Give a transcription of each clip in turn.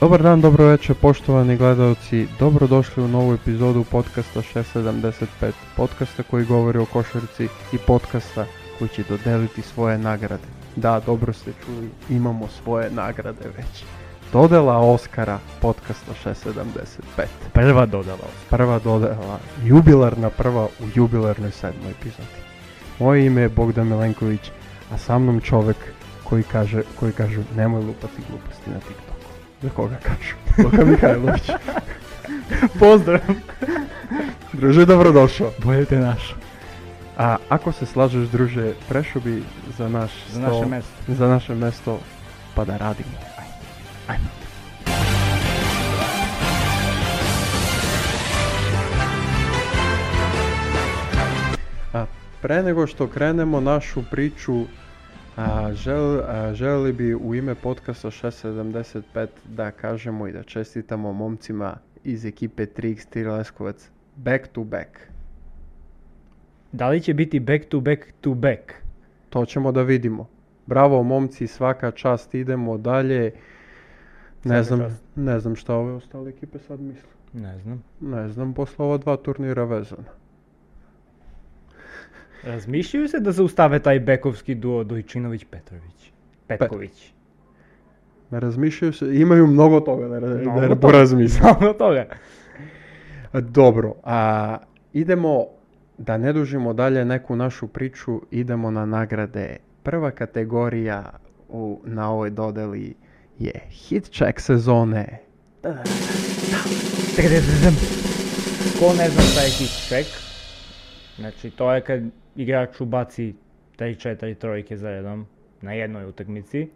Добар дан, добро вечер, поштовани гледаоци. Добродошли у нову епизоду подкаста 675, подкаста кој говори о кошарци и подкаста кој ќе доделити своје награде. Да, добро сте чули, имамо своје награде веќе. Додела Оскара, подкаста 675. Прва додела. Прва додела, јубиларна прва у јубиларној седмој епизоди. Моје име е Богдан Миленковиќ, а со мном човек кој каже, кој кажу, немој лупати глупости на TikTok. За Да кога кажу? Лука Михајловиќ. Поздрав! Друже, добродошо. Бъдете наш. А ако се слажеш, друже, прешоби за наш За наше стол, место. за наше место, па да радиме. А, Пре него што кренемо нашу причу, а, жел, а, желели би у име подкаста 675 да кажемо и да честитамо момцима из екипе 3x3 Лесковец back to back. Дали ќе бити back to back to back? To ćemo da vidimo. Bravo momci, svaka čast, idemo dalje. Ne Svaka znam, čast. ne znam šta ove ostale ekipe sad misle. Не знам. Ne znam, posle ova dva turnira vezano. Размислију се да зауставе тај бековски дуо Дојчиновиќ Петровиќ. Петковиќ. Ne razmišljaju se, imaju mnogo toga da, ra- Mnogo da toga. porazmisle. Само тога. Dobro, a idemo da ne dužimo dalje neku našu priču, idemo na nagrade. Prva kategorija u, na ovoj dodeli je hit check sezone. Ко не знам тај хит чек. Значи тоа е кад играч убаци тај четири тројки заредом на едној утакмици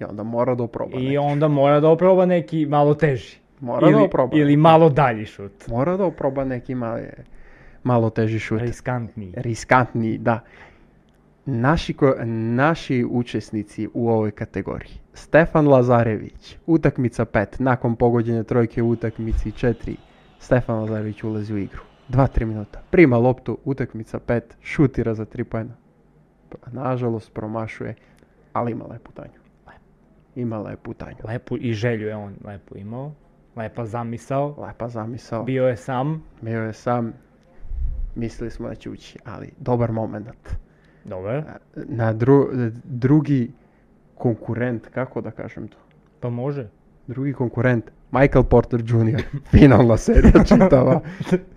I onda mora da oproba. neki. и онда мора да опроба неки мало тежи. Мора да или, опроба. или мало дали шут. Mora da oproba neki male, malo teži šut. Рискантни. Riskantniji, da. Naši, ko- naši učesnici u ovoj kategoriji. Stefan Lazarević, utakmica 5, nakon pogođene trojke u utakmici 4, Stefan Lazarević ulazi u igru. 2-3 minuta, prima loptu, utakmica 5, šutira za 3 pojena. Nažalost promašuje, ali ima lepu tanju. Ima lepu tanju. Лепо и želju je on lepo imao. Lepa zamisao. Lepa zamisao. Bio je sam. Bio je sam, mislili smo da će ući, ali dobar moment. Добре. Na dru- drugi konkurent, kako da kažem to? Па може. Drugi konkurent, Michael Porter Jr. Finalna serija čitava.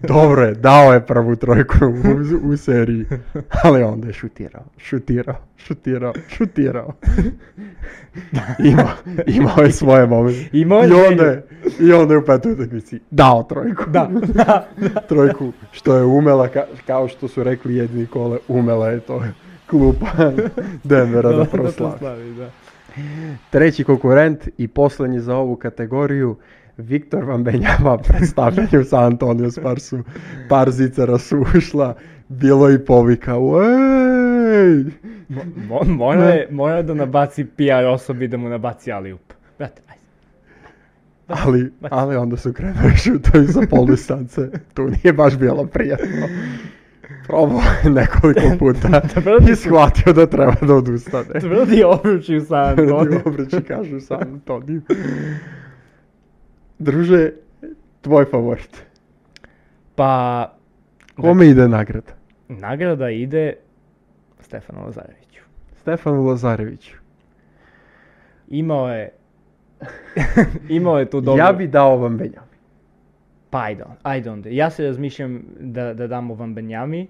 Dobro je, dao je prvu trojku u, u seriji, ali onda je šutirao, šutirao, šutirao, šutirao. Ima, imao je svoje momente. Imao je I onda želju. je, i onda je u petoj utakmici dao trojku. Da. da. trojku što je umela, ka- kao što su rekli jedni kole, umela je to klupa Denvera da proslavi. proslavi, da. Treći konkurent i posljednji za ovu kategoriju, Viktor Van Benjama predstavljanju sa Antonio Sparsu. Par zicara su ušla, bilo je i povika, uej! Мо- мо- Мора, е- мора да набаци PR особи да му набаци алиуп. Брате, ајде. Ali, baci. ali onda su krenuli šutovi za pol distance, tu nije baš bilo prijatno. Probao je nekoliko puta brati. i shvatio da treba da odustane. Тврди обручи у Сан Антонио. Ti obreći kažu San Antonio. Druže, tvoj favorit. Па, Kome ide nagrada? награда иде Стефану Лазаревичу. Stefanu Lazareviću. Имао е... Имао е ту добро. Ja bi dao vam Benjam. Па Pa, ајде, он- ајде онде. Јас се размишлям да, да дам ован Бенјами.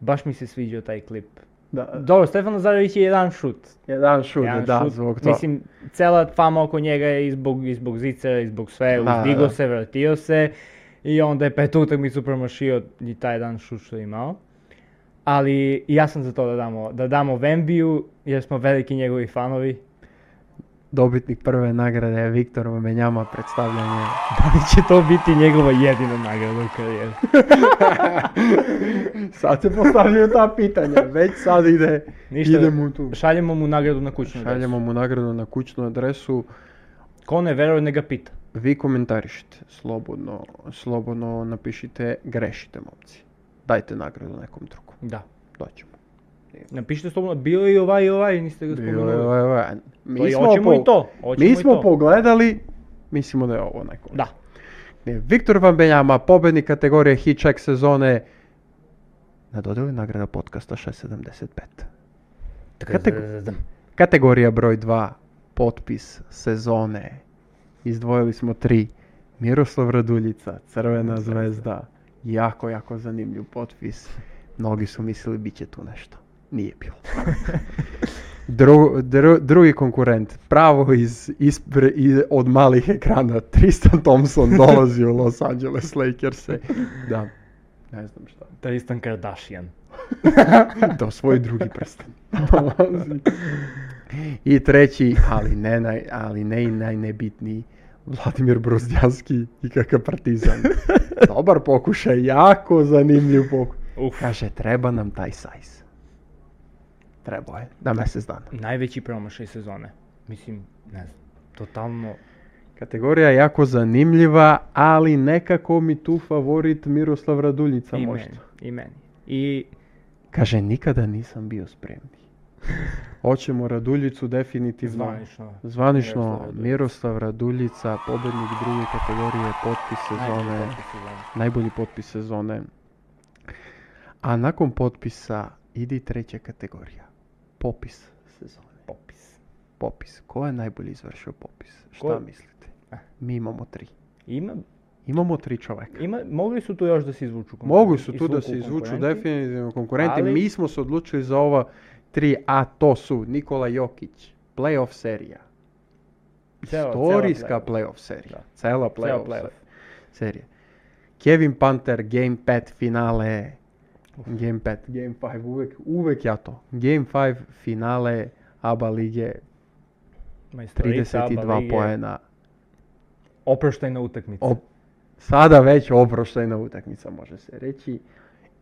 Баш ми се свиѓа тај клип. Da, Добро, Стефан Лазаревиќ е еден шут. jedan šut, Еден da, шут. zbog toga. Мислим, цела фама око njega е и због, и због зицера, и због све, Да, уздиго да. се, вратио се. И онда е пет утакмицу промашио и тај еден шут што имао. Али и јас сум за тоа да дамо, да дамо Вембију, јер смо велики негови фанови. Dobitnik prve nagrade je Viktor Menjama predstavljanje. Дали ќе тоа бити негова едина награда у кариера? Sad se postavljaju ta pitanja, već sad ide, Ništa, idemo tu. Шаљемо му награду на куќна Šaljemo mu nagradu na kućnu adresu. Ко не верува, не га пита. Vi komentarišite, slobodno, slobodno napišite, grešite momci. Dajte nagradu nekom drugom, Да. doćemo. Напишите слободно, био и ovaj ова и ова и нисте го Bio je, ovaj, споменували. ovaj. Па Mi и smo, Hoćemo po- i to. Hoćemo mi i smo to. pogledali, Mislimo da je ovo neko. Da. Ne, Виктор Вамбењама, победник категорија Хичек сезоне на додели награда подкаста 675. Категор- Категорија број 2, подпис сезоне. Издвоили смо три. Мирослав Радулица, Црвена звезда. Јако, јако занимљив подпис. Многи су мислили биће ту нешто. Није било. Дру, дру, други конкурент, право из, испре, и, од малих екрана, Тристан Томсон долази у Лос Анджелес Лейкерсе. Да, не знам шта. Тристан Кардашијан. Do svoj drugi prsten. Dolazi. I treći, ali ne, naj, ali ne i najnebitniji, Vladimir Brozdjanski i kakav partizan. Dobar pokušaj, jako zanimljiv pokušaj. Уф, Kaže, treba nam taj sajz. Trebao je, na mjesec dana. највеќи промашај сезоне. Мислим, не знам, тотално Kategorija je jako zanimljiva, ali nekako mi tu favorit Miroslav Raduljica и možda. мен, и мен. И Kaže, nikada nisam bio spremni. Hoćemo Raduljicu definitivno. званично. Miroslav Zvanično Raduljica. Miroslav Raduljica, pobednik druge kategorije, potpis најдобар sezone, сезон. najbolji potpis sezone. A nakon potpisa ide i treća kategorija, popis sezone. Попис. Popis. Ko je najbolje izvršio popis? Šta Ko- mislite? Eh. Mi imamo tri. Има Imamo tri čoveka. Има, могли су ту још да се извучу Mogu su конкуренти, tu da извуку se izvuču конкуренти. definitivno konkurenti. ali- Mi smo se odlučili za ova tri, a to su Nikola Jokić, playoff serija. Цела- цела Historijska плејоф. playoff serija. Da. Cela Цела playoff, плејоф. serija. Kevin Panther, Game 5 finale. Game 5, Game 5, uvek, uvek ja to. Game 5 finale ABA lige, Мајсторица, 32 Балиге, poena. Опроштајна утакмица. Op- sada već oproštajna utakmica može se reći.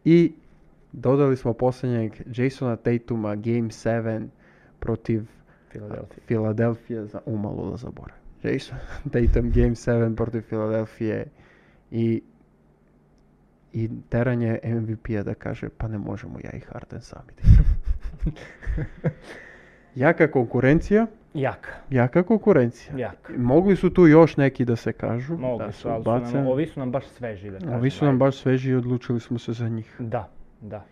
I dodali smo posljednjeg Jasona Tatuma Game 7 protiv Филаделфија. Filadelfije za umalo da zaboravim. Jason Tatum Game 7 protiv Filadelfije i i teranje MVP-a da kaže pa ne možemo ja i Harden sami. jaka konkurencija, Јака, jaka konkurencija. јака. Mogli su tu još neki da se kažu. da Могли su су, али су bacani. нам, ови су нам баш свежи да кажем. Ovi su nam ајде. baš sveži i odlučili smo se za njih. Да, да.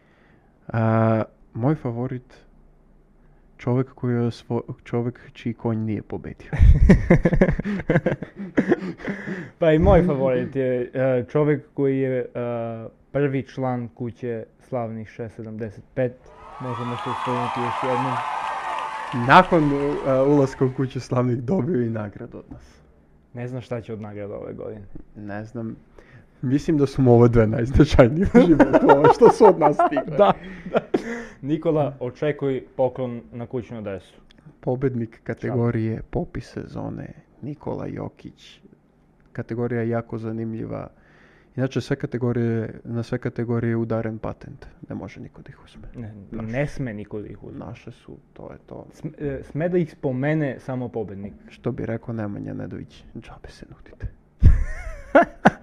A, moj favorit, čovjek koji je osvo- čovjek čiji konj nije pobedio. Pa Па и мој фаворит е e, е, човек кој е е, први члан куќе славних 675. Можеме се освојнати још едно. Nakon a, ulaska u kuću slavnih dobio je i nagradu od nas. Не знам шта ќе од награда ове години. Ne znam, mislim da su mu ove dve najznačajnije u životu, ovo što su od nas stigle. Да, да. Никола, очекуј поклон на куќно десу. Pobednik kategorije popis sezone Nikola Jokić. Kategorija je jako zanimljiva. Inače, sve kategorije, na sve kategorije je udaren patent. Ne može niko da ih uzme. Не, не сме никој да их узме. Naše su, to je to. См- e, е, Сме да их спомене само победник. Što bi rekao Nemanja Nedović, džabe se nudite.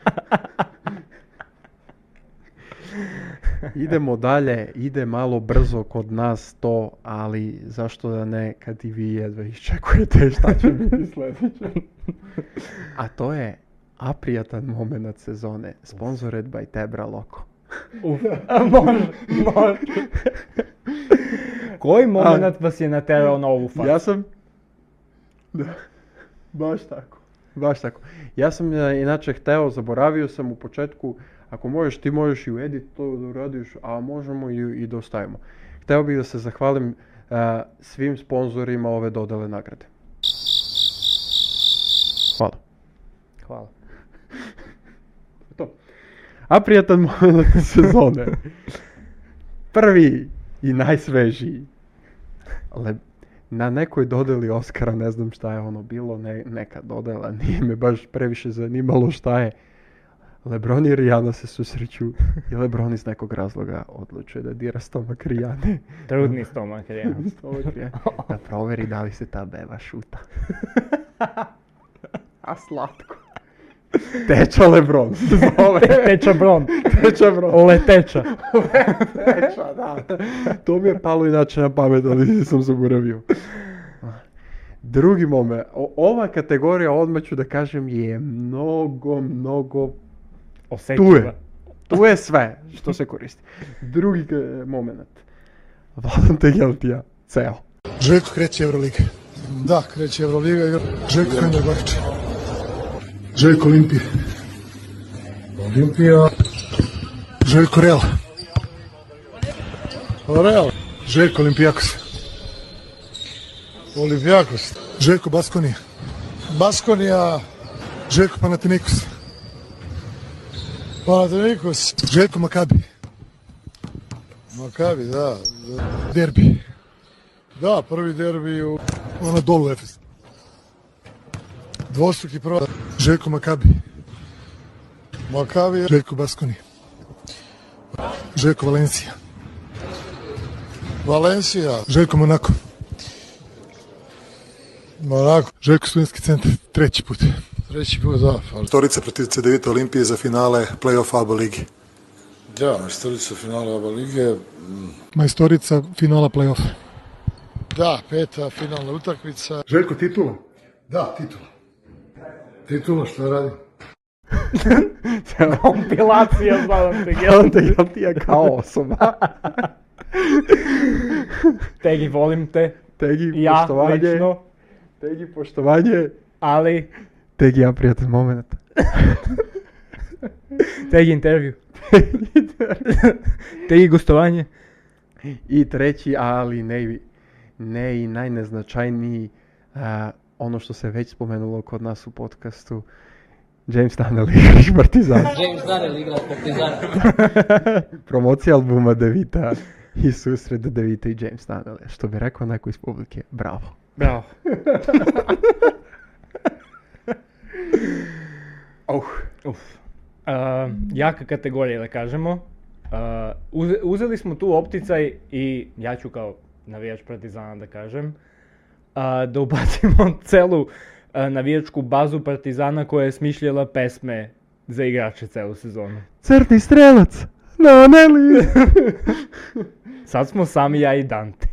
Idemo dalje, ide malo brzo kod nas to, ali zašto da ne kad i vi jedva iščekujete šta će biti sljedeće. A to je aprijatan moment sezone, sponsored by Tebra Loko. Уф, може, може. Кој момент вас е натерал на ову фазу? Ja sam... Da. Baš tako. Baš tako. Ja sam e, inače hteo, zaboravio sam u početku, ako možeš, ti možeš i u edit to da uradiš, a možemo i, i da ostavimo. Hteo bih da se zahvalim e, svim sponzorima ove dodale nagrade. Hvala. Хвала. To. A prijatan moment sezone. Prvi i najsvežiji. Le, na nekoj dodeli Oscara, ne znam šta je ono bilo, ne, neka dodela, nije me baš previše zanimalo šta je. Lebron i Rijana se susreću i Lebron iz nekog razloga odlučuje da dira stomak Rijane. Трудни стомак, реално. Stomak Rijane. Da proveri da li se ta beba šuta. A slatko. Teča Lebron se zove. Теча брон. Teča Lebron. Летеча. Teča, да. da. To mi je palo inače na pamet, ali sam zaboravio. Други моме, о- ова категорија одма ќе да кажем е многу, многу Осетива. Ту е све што се користи. Други ка- момент. Владан Тегелтија, цел. Željko kreće Euroliga. Da, kreće Euroliga. igra. Željko Fenerbahče. Željko Olimpija. Olimpija. Željko Real. Real. Željko Olimpijakos. Olimpijakos. Željko Baskonija. Baskonija. Željko Panathinaikos. Panathinaikos. Željko Makabi. Makabi, da. Derbi. Da, prvi derbi u Anadolu Efes. Dvostruki prva. Željko Makabi. Makabi. Željko Baskoni. Željko Valencija. Valencija. Željko Monako. Monako. Željko Studentski centar, treći put. Treći put, da. Torica protiv CDVita Olimpije za finale play-off ABA ligi. Da, majstorica finala Aba Lige, mm. Majstorica, finala play-offa. da, peta finalna utakmica. Željko titula? Da, titula. Titula, šta radi? Компилација Владан Владан Тегел. Тегелтија као особа. Те ги волим те. Теги Ја поштовање, лично, теги поштовање, али теги ја пријатен момент. те ги интервју. Те ги гостување. И трети, али не, не и најнезначајнiji, а, оно што се веќе споменуло код нас у подкасту, Джеймс Данели, Партизан. James Darrell igra u Partizanu. Промоција албума Девита и сусрет Девита и Джеймс Данеле, што би рекол некој из публике, браво. Браво. Ох, Уф. А, јака категорија да кажемо. А, узе- узели сме ту оптицај и ја ću као навијач Партизана да кажем, а, да убацимо целу а, навијачку базу Партизана која е смишлила песме за играчи целу сезону. црни стрелац, на нели? Сад смо сами ја и Данте.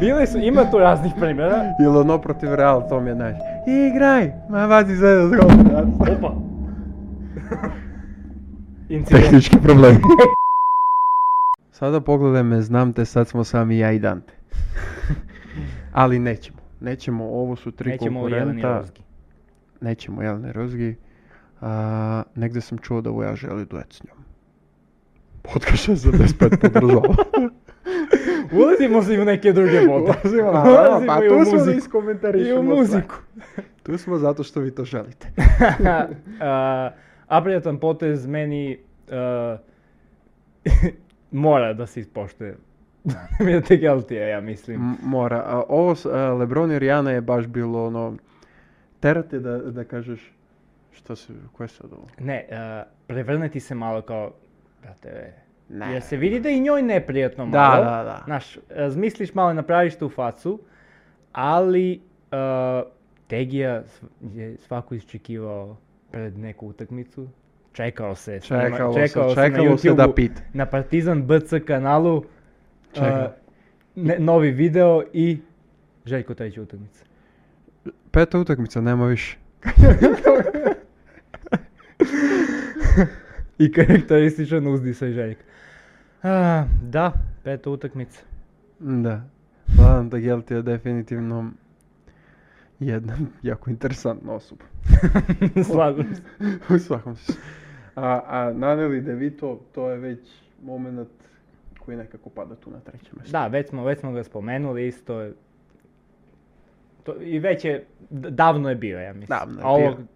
Биле су, има ту разних примера. Или оно против Реал, то ми е нај. Играј, ма вази за да згодам. Опа. Инцидент. Технички проблеми. Сада погледаме, знам те, сад смо сами ја и Данте. Али нечемо. Нечемо, ово су три Неќемо о Јелени конкурента. Розги. Nećemo Jelene Rozgi. A, negde sam čuo da Voja želi duet s njom. Podcast 65 podržava. Ulazimo se i u neke druge vode. Ulazimo, a, Ulazimo pa i u tu smo da muziku. iskomentarišemo I u sve. muziku. tu smo zato što vi to želite. A, Apriletan potez meni a, mora da se ispoštuje. Mi je tek Eltija, ja mislim. M- mora. A, ovo s a, Lebron i Rihanna je baš bilo ono... Terate da, da kažeš šta se, ko je sad ovo? Ne, a, prevrneti se malo kao, brate, e, Ne. Jer se vidi da je i njoj neprijatno Da, malo. da, da. Znaš, razmisliš malo i napraviš tu facu, ali e, Tegija sv- je svako iščekivao pred neku utakmicu. Čekao se. snima- Čekalo se, čekalo na se da YouTubeu, pita. Na Partizan BC kanalu e, Čekao. ne- novi video i Željko treća utakmica. Peta utakmica, nema više. I karakterističan uzdisaj Željka. A, da, peta utakmica. Mm, Da. Vladan Tagelti je definitivno jedna jako interesantna osoba. Slažem se. U svakom slučaju. A, a Naneli Devito, to je već moment koji nekako pada tu na treće mjesto. Da, već smo, već smo ga spomenuli isto. je- To, I već je, d- davno je bio, ja mislim. Davno je A ovo bio.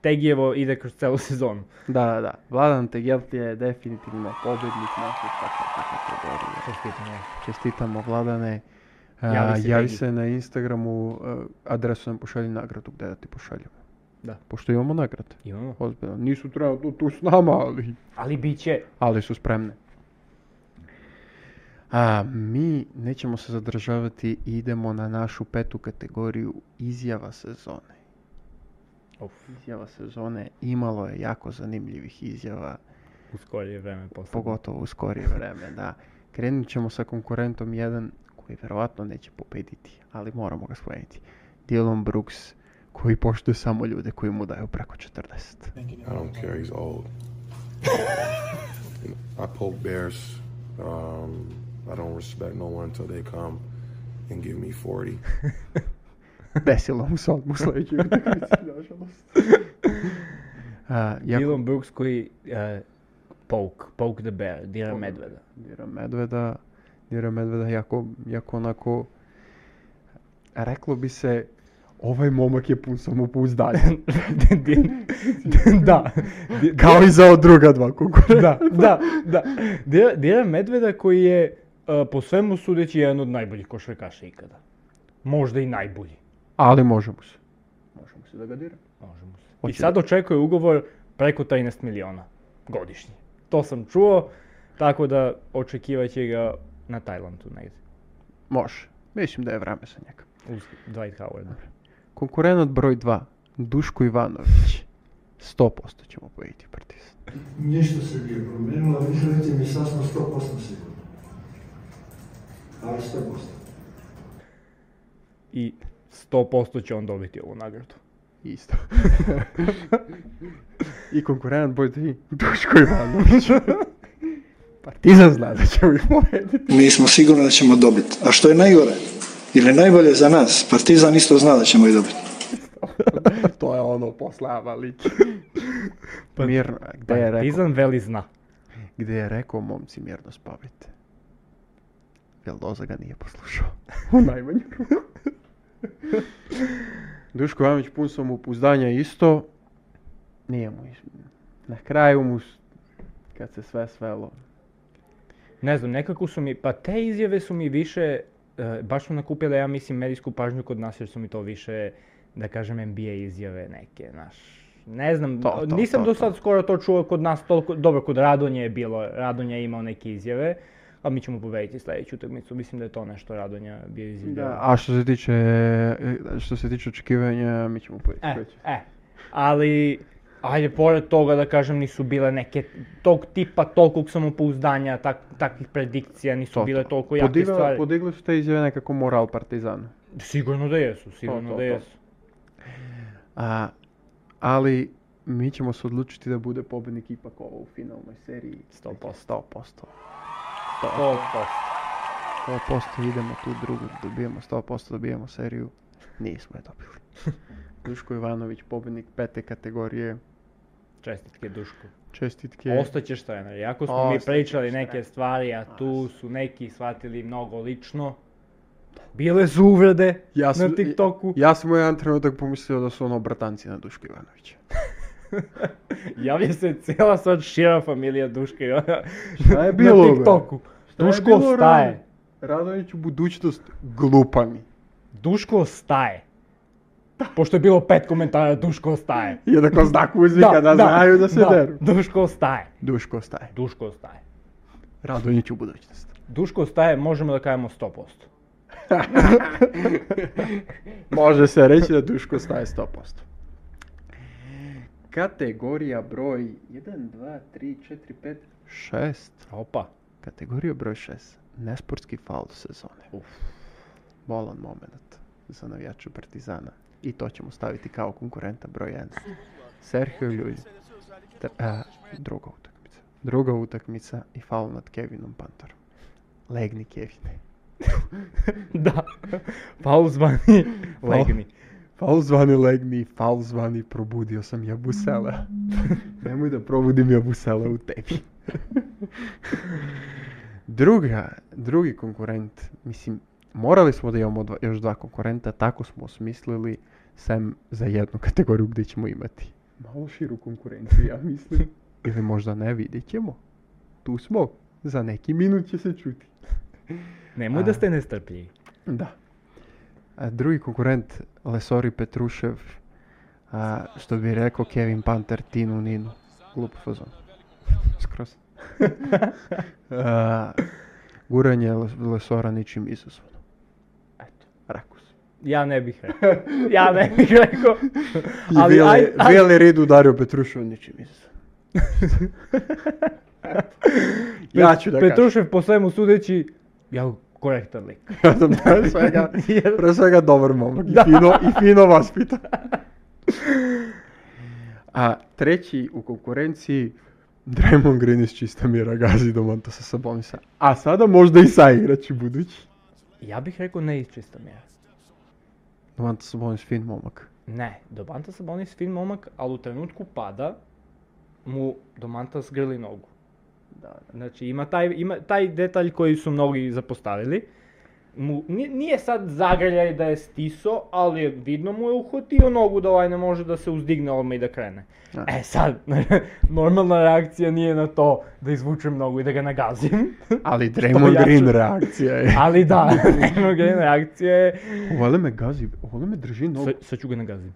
Tegijevo ide kroz celu sezonu. Da, da, da. Vladan Tegelti je definitivno pobjednik naše takve kategorije. Čestitamo. Čestitamo Vladane. A, Javi se javi Pegi. se na Instagramu, a, adresu nam pošalji nagradu gdje da ti pošaljemo. Da. Pošto imamo nagrade. Imamo. Ozbiljno. Nisu trenutno tu s nama, ali Ali bit će. ali su spremne. A, mi nećemo se zadržavati i idemo na našu petu kategoriju izjava sezone. Uf, Izjava sezone imalo je jako zanimljivih izjava, u skorije vreme posle. pogotovo u skorije vreme. Da. Krenut ćemo sa konkurentom 1 koji verovatno neće pobediti, ali moramo ga spomenuti. Dylan Brooks, koji poštuje samo ljude koji mu daju preko 40. I don't care. He's old. I poke bears. Um, I don't respect no one until they come and give me 40. Desilo mu se odmah u sledećoj utakmici, nažalost. A, jako Dylan Brooks koji e, poke, poke the bear, dira medveda. Dira Medveda, Dira Medveda jako, jako onako, reklo bi se, ovaj momak je pun samopouzdanja. Di- da. Di- Kao i za ova druga dva konkurenta. da, da, da. Dira, dira medveda koji je e, po svemu sudeći jedan od najboljih košarkaša ikada. Možda i najbolji. Ali možemo se. Možemo se da ga dira. Možemo se. I Hoće sad očekuje ugovor preko 13 miliona godišnje. To sam čuo, tako da očekivat će ga na Tajlandu negdje. Može. Mislim da je vreme za njega. Uz Dwight Howard. Konkurent broj 2, Duško Ivanović. 100% ćemo pobediti Partizan. Ništa se nije promijenilo, vi želite mi sasno 100% sigurno. Ali 100%. I 100% će on dobiti ovu nagradu. Isto. I konkurent broj 3, Duško Ivanović. Partizan zna da ćemo ih pobediti. Mi smo sigurni da ćemo dobiti. A što je najgore ili najbolje za nas, Partizan isto zna da ćemo i dobiti. to je ono poslava lik. Mirno, gde Pa je rekao? Partizan veli zna. gdje je rekao momci mirno spavajte. Jel Loza ga nije poslušao? U najmanju ruku. Duško Jamić pun sam upuzdanja isto. Nije mu iš... Na kraju mu, s- kad se sve svelo, Ne znam, nekako su mi, pa te izjave su mi više, e, baš su nakupile, ja mislim, medijsku pažnju kod nas, jer su mi to više, da kažem, NBA izjave neke, znaš. Ne znam, To, to, nisam to, do to. sad skoro to čuo kod nas toliko, dobro, kod Radonje je bilo, Radonja je imao neke izjave, a mi ćemo pobediti sljedeću utakmicu, mislim da je to nešto Radonja bio izjavio. Da, a što se tiče, e, što se tiče očekivanja, mi ćemo pojeti. E, e, ali, ajde, pored toga da kažem, nisu bile neke tog tipa, tolikog samopouzdanja, tak, takvih predikcija, nisu bile toliko jake stvari. Podigli su te izjave nekako moral partizana. Sigurno da jesu, sigurno to, da to. jesu. A, ali mi ćemo se odlučiti da bude pobednik ipak ovo u finalnoj seriji. 100%. 100%. To, to. 100% idemo tu drugu, dobijemo 100%, dobijemo seriju. Nismo je dobili. Duško Ivanović, pobjednik pete kategorije. Čestitke Duško. Čestitke. Ostaćeš trener. Jako smo mi Ostaćeš pričali neke stvari, a tu su neki shvatili mnogo lično. Bile su uvrede Ja sam- na TikToku. Ja sam u jedan trenutak pomislio da su ono bratanci na Duško Ivanovića. Javlja se cijela sad šira familija Duška i ona Šta je bilo, na bre? TikToku. Šta je Duško bilo, Rado- staje. Radonjić u budućnost glupani. Duško staje. Pošto je bilo pet komentara, Duško staje. I onda kao znak да, uzvika da, znaju da se deru. Duško staje. Duško staje. Duško staje. Radonjić u budućnost. Duško staje, možemo da kažemo 100%. Može se reći da Duško staje 100%. Kategorija broj 1, 2, 3, 4, 5, 6. Opa. Kategorija broj 6. Nesportski faul sezone. Uf. Bolan moment za navijača Partizana. I to ćemo staviti kao konkurenta broj 1. Sergio Ljulj. Tr- a, druga utakmica. Druga utakmica i faul nad Kevinom Pantorom. Legni Kevine. Da. Paul zvani legni. Faul zvani legni, faul zvani probudio sam jabusela. Nemoj da probudim jabusela u tebi. Druga, drugi konkurent, mislim, morali smo da imamo dva- još dva konkurenta, tako smo osmislili sem za jednu kategoriju gdje ćemo imati. Malo širu konkurenciju, ja mislim. Ili možda ne, vidjet ćemo. Tu smo, za neki minut će se čuti. Nemoj da ste nestrpljivi. Da. A, drugi konkurent, Lesori Petrušev, a, što bi rekao Kevin Panter, Tinu Ninu. Glup fazon. Skroz. a, guranje Les- Lesora ničim izazvano. Eto, rakus. Ja ne bih rekao. Ja ne bih rekao. I Ali Vili, aj- aj- Vili Rid udario Petrušev ničim izazvano. ja ću da kažem. Petrušev po svemu sudeći, ja коректен лик. Кажам, Пре свега, Јас- пре свега добар момак. И фино, и фино васпита. А трети у конкуренцiji Draymond Green iz čista mira gazi domanta sa Sabonisa. A sada možda i sa igrači budući. Ја бих рекол не изчиста ми е. Domanta Sabonis fin momak. Не, Домантас Сабонис фин момак, али у тренутку пада, му Домантас грли ногу. Да, Значи има тај, има тај деталј кој су многи запоставили. Му, ни- ние сад загрљај да е стисо, али е видно му е ухватио ногу да овај не може да се уздигне одма и да крене. Да. Е сад, нормална реакција ние на то да извучем многу и да га нагазим. Ali Što Draymond jače. Green реакција е. Али да, но ген реакција е Оле ме гази, оле ме држи ногу. Се, се ќе го нагазим.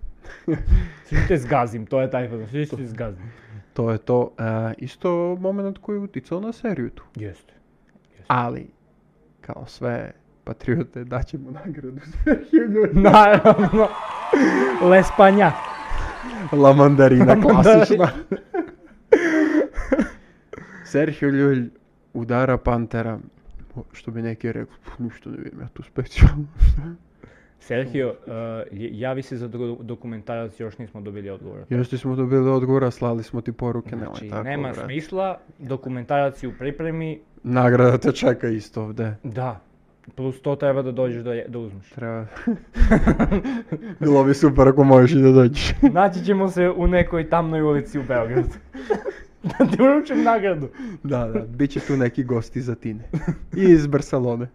Се ќе те згазим, тоа е тај фазон, се ќе те згазим. Тоа е то. А, исто моментот кој утицал на серијуту. Јесте. Ali, kao sve patriote, daćemo nagradu Serhiju Наравно. Лес пања. La mandarina klasična. klasična. Serhiju Ljulj udara Pantera. O, Što bi neki rekli, "Pf, ništa ne vidim ja tu specijalno. Серхио, е, јави се за друг документарац, још не смо добили одговор. Još ti smo dobili odgovora, slali smo ti poruke, nemoj Значи, tako. нема brate. смисла, документарац ја у припреми, Nagrada te čeka isto ovde. да. Плюс то треба да дојдеш да, ја- да узмеш. Treba... Bilo bi super ako možeš i da dođeš. Наќи ќе му се у некој тамној улици у Белград. да ти уручим награду. Da, da, bit će tu neki gosti za Tine. I iz Barcelone.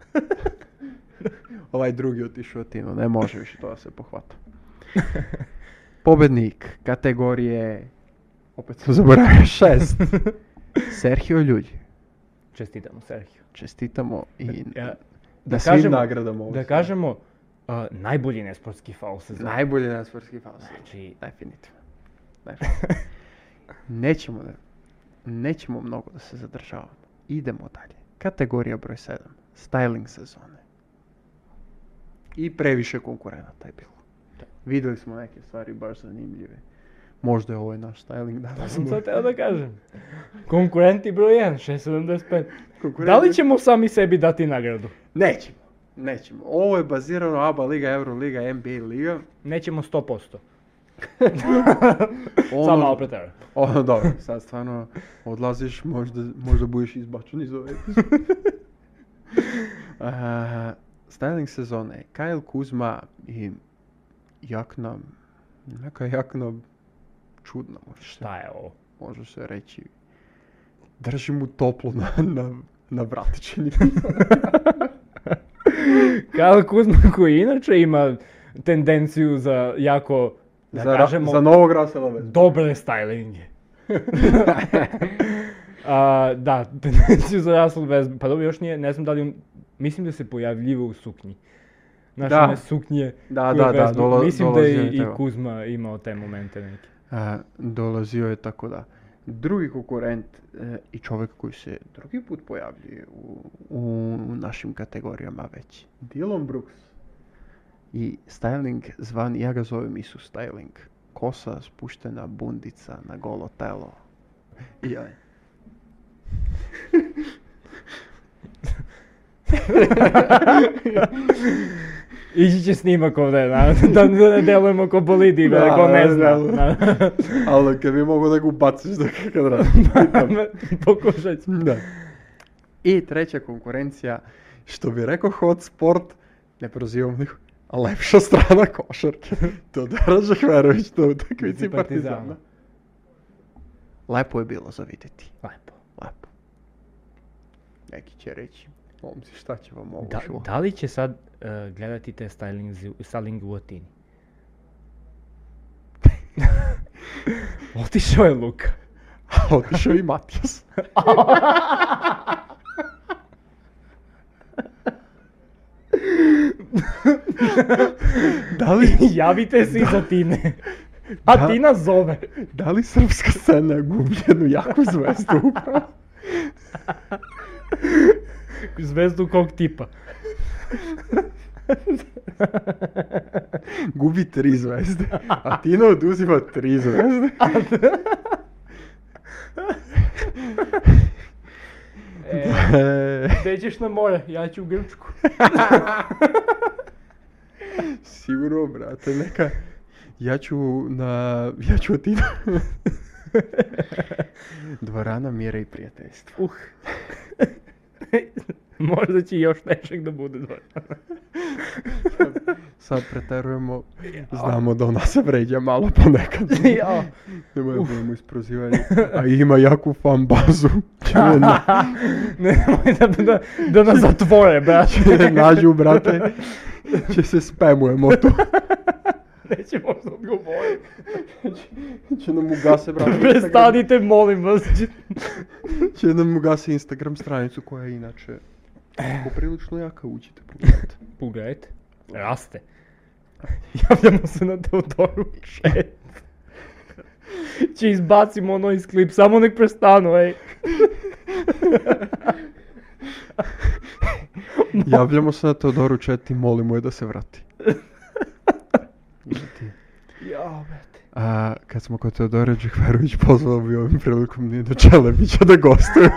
ovaj drugi otišao u Tinu, ne može više to da se pohvata. Pobednik kategorije, opet sam zaboravio, šest. Sergio Ljulj. Честитам, Серхио. Čestitamo i Ја, da, svim kažemo- nagradama ovo. да кажемо, а, најбољи неспортски фаул сезон. Najbolji na sportski faul. Значи, Definitivno. Definitivno. nećemo, da, nećemo mnogo da se zadržavamo. Idemo dalje. Kategorija broj 7. Styling sezone. I previše konkurenata je bilo. Vidjeli smo neke stvari baš zanimljive. Možda je ovo naš styling danas. Сам тоа треба да кажем. Конкуренти број 1, 675. Konkurent- Дали ќе му сами себе дати награду? Nećemo. Nećemo. Ovo je bazirano ABA liga, Euro liga, NBA liga. Не ќе му 100%. Ono, Само мало претера. Ono, dobro, sad stvarno odlaziš, možda, možda budeš izbačen iz ove epizode. A, styling Eh, sezone, Kyle Kuzma i jakna, neka jakna čudna može se, Шта е ово? može se reći. Drži mu toplo na, na, na vratičini. Кај Кузма кој иначе има тенденцију за јако да za, ra- кажемо za novog Rasela Westbrooka. добре стайлинги. а, да, тенденцију за Расел без pa па добро још ние не знам дали мислим да се појављува у сукњи. Да. Наши не сукње. Da, кој da, da, без- dola, Мислим да dolazio и, je и tamo. Кузма имао те моменти неки. A, E, dolazio je tako da. Drugi konkurent e, i čovjek koji se drugi put pojavljuje u, u našim kategorijama već. Dylan Brooks. I styling zvan, ja ga zovem Isu styling. Kosa spuštena, bundica na golo telo. I ja. Ići će snimak ovdje, da, da ne delujemo ko bolidi, Da, da, ko ne da, zna. da. da. Ali kad bi mogu da ga ubaciš da kad Pokušat ću. Da. I treća konkurencija, što bi rekao hot sport, ne prozivam ih, a lepša strana košarke. Todora Žehverović na utakmici Utakmici Partizana. Partizana. Lepo je bilo za vidjeti, Lepo. lepo. Neki će reći, momci šta će vam ovo Da, živo? da li će sad e, gledati te styling, styling u Atini? Otišao je Luka. A otišao i Matijas. da, li, Javite se iz Atine. Atina zove. da li srpska scena gubi jednu jaku zvezdu upravo? Zvezdu kog tipa. Gubi tri zvezde. Atina oduzima tri zvezde. Е, E, те ќеш на море, ја ќе у Грчку. Сигурно, брате, нека. Ја ќу на... Ја ќу отида. Двора на мира и пријателјство. Ух. Може да ќе још нешек да буде дојде. Сад претеруваме, знамо да у нас се вреѓа мало понекад. Ја. Нема да будемо испрозивани. А има јаку фан базу. Ќе ме на- Не, немој да, да, да нас затворе, брат. ќе ме нажу, брате. Ќе се спемуемо ту. Не ќе може да одговори. Ќе нам угасе, брате. Престаните, молим вас. че- Ќе нам угасе Инстаграм страницу која е иначе Eh. поприлично јака учите погледате. Погледайте. Расте. Јављамо се на Теодору 6. Ќе избацимо оно из клип, само нек престану, еј. Јављамо се на Теодору Чет и молимо е да се врати. Ја, брате. А, кад смо кај Теодора Джихверовиќ, позвал би овим приликом Нино Челебиќа да гостува.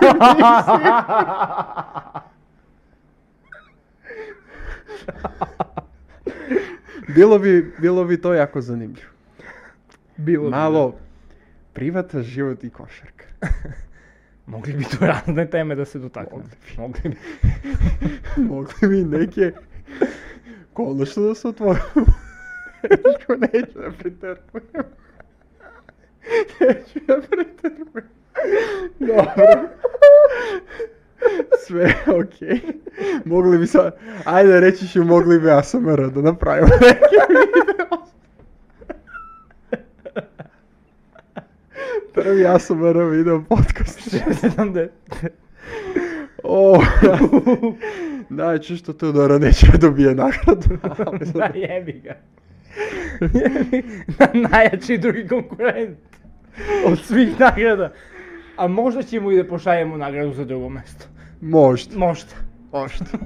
било би, било би тоа јако занимљиво. Било. Мало привата, живот и кошарка. Могли би до разне теме да се дотакнат. Могли би. Могли би неке конечно да се отвори. Што неќе да претрпувам. Неќе да претрпувам. Добро. Све е окей. Могли би са... Ајде речи ќе могли би АСМР да направим неке видео. Први АСМР видео подкаст. Знам да е. О, најче што Теодора неќе да добие награду. Да, јеби га. На најачи други конкурент. Од свих награда. А можда ќе му и да пошајемо награду за друго место. Можда, Можда. можда.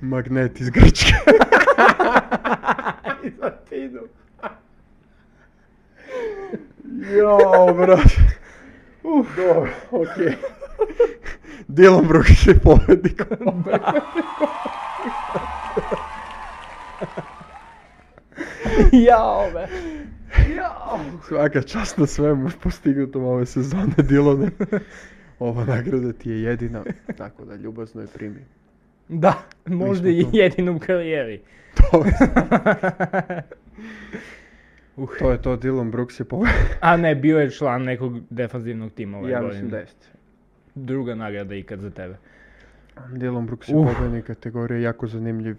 Магнет из Грчка. Ај, за тину. Јао, брат. Уф, добро, окей. Дилан Брук ќе победи кон Јао, бе. Јао. Свака част на свему постигнато ове сезоне, Дилане. Ова награда ти е едина, така да љубазно ја прими. Да, можда и едино у кариери. Тоа е, тоа е тоа, Дилан Брук се победи. А не, био е члан неког дефанзивног тима ове Ја мислам да есте. Друга награда икад за тебе. Дилан Брук се Уф. победни категорија, јако занимљив,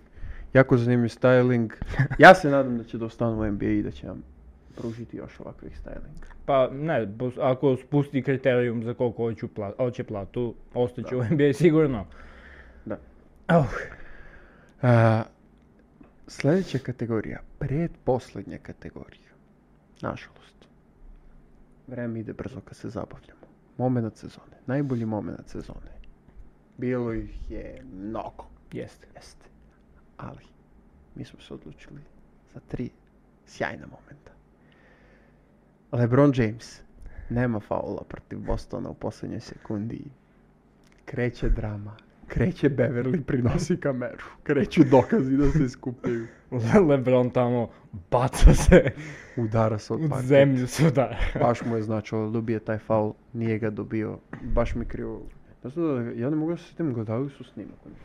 јако занимљив стайлинг. Јас се надам да ќе достану во NBA и да ќе нам пружити још оваквих стайлинг. Па, не, пос- ако спусти критериум за колку hoću пла, hoće плату, остаće u NBA sigurno. Да. Ох, А, следеќа категорија, предпоследња категорија. Нажалост. Време иде брзо кога се забављамо. Момент сезоне, најболи момент сезоне. Било их е многу. jeste. Jeste. Ali, mi smo se odlučili za tri sjajna momenta. LeBron James nema faula protiv Bostona u posljednjoj sekundi. Kreće drama. Kreće Beverly, prinosi kameru. Kreću dokazi da se skupljaju. Lebron tamo baca se Udara se od u parketa. zemlju se udara. Baš mu je značilo da dobije taj faul. Nije ga dobio. Baš mi krivo. Ne znam da, ja ne mogu da se sjetim gledali su snimak. oni.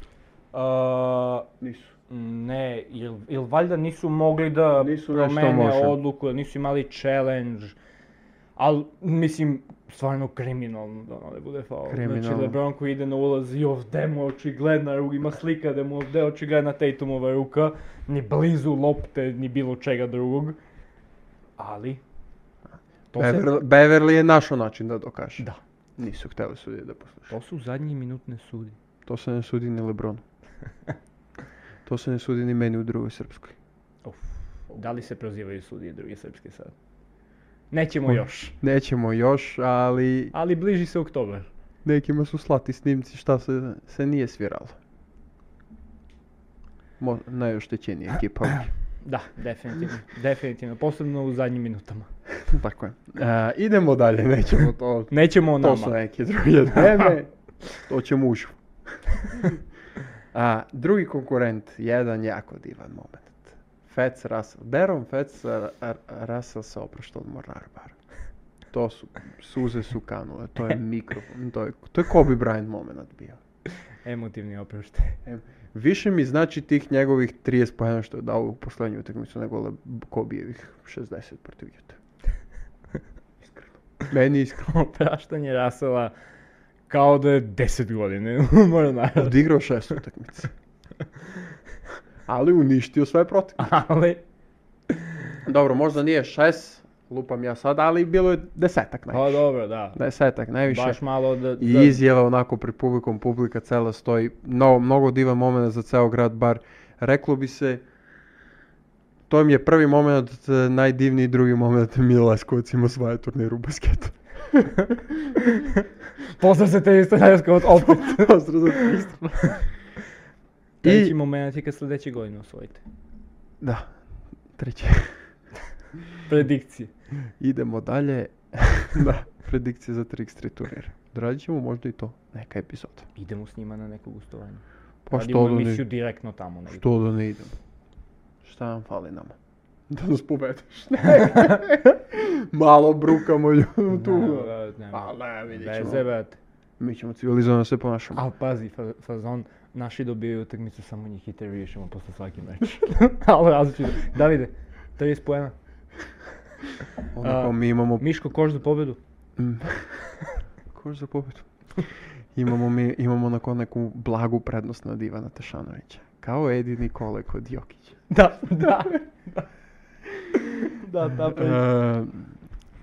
A, Nisu. ne, il, il valjda nisu mogli da Nisu nešto promene može. odluku, nisu imali challenge. Al, mislim, stvarno kriminalno da ono ne bude faul. Znači, Kriminalno. Lebron koji ide na ulaz i ovde mu je očigledna ruka, ima slika da mu je ovde očigledna Tatumova ruka, ni blizu lopte, ni bilo čega drugog. Ali, to, se, Beverly, Beverly je našao način da dokaže. Da. Nisu htjeli sudije da poslušaju. to su u zadnji minut ne sudi. To se ne sudi ni Lebronu. To se ne sudi ni meni u drugoj srpskoj. Uf, da li se prozivaju sudije druge srpske sad? Nećemo još. Nećemo još, ali Ali bliži se oktobar. nekima su slati snimci šta se, se nije sviralo. Mo, najoštećenija ekipa ovdje. Da, definitivno. definitivno. Posebno u zadnjim minutama. Tako je. A, E, idemo dalje, nećemo to. Nećemo o To su nama. neke druge teme. To će mu ušu. A, drugi konkurent, jedan jako divan moment. Fats Russell. Deron Fats Ra- Ra- Russell se oprašta od Mornar bar. To su, suze su kanule, to je mikrofon, to je, to je Kobe Bryant moment bio. Emotivni oproštaj. Više mi znači tih njegovih 30 pojena što je dao u poslednju utakmicu nego Le- Kobijevih 60 protiv Jute. Iskreno. Meni iskreno. Opraštanje Rasela kao da je 10 godine. Mora naravno. Odigrao šest utakmica. Ali uništio sve protiv. Ali, Dobro, možda nije šest, lupam ja sad, ali bilo je desetak pa najviše. dobro, da. Desetak najviše. Baš malo da... I da- izjava onako pred publikom, publika cela stoji. No, mnogo divan moment za ceo grad, bar reklo bi se to im je prvi moment eh, najdivniji, drugi moment Mila Leskovac ima svoje turnir u basketu. Pozdrav za te isto Leskovac opet. Pozdrav za te isto. Treći I, moment je kad sledeće godine osvojite. da, treći. Predikcije. Idemo dalje. da, predikcije za 3x3 turnir. Odradit ćemo možda i to, neka epizoda. Idemo s njima na neko gostovanje. Pa Radimo što da ne, emisiju direktno tamo. negdje. što da ne idemo? Šta vam fali nama? Da nas povedeš. Malo brukamo lju- tu. Nema, brate, nema. Pa ne, vidit ćemo. Veze, brate. Mi ćemo civilizovano se ponašamo. Al pazi, fa- fazon, naši dobijaju utakmicu, samo njih i riješimo posle svaki meč. Ali različito. Davide, 30 poena. Onako a, mi imamo... Miško Koš za pobedu. Koš za pobedu. Imamo mi, imamo onako neku blagu prednost nad Ivana Tešanovića. Kao Edi Nikole kod Jokića. Da, da. da, ta priča. E,